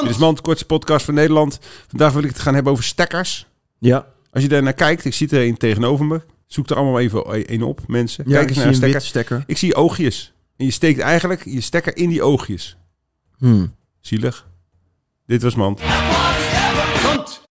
Dit is Mand, de kortste podcast van Nederland. Vandaag wil ik het gaan hebben over stekkers. Ja, Als je daar naar kijkt, ik zit er een tegenover me. Zoek er allemaal even een op, mensen. ja Kijk eens ik zie naar een stekker. een witstekker. Ik zie oogjes. En je steekt eigenlijk je stekker in die oogjes. Hmm. Zielig. Dit was Mand. Mand,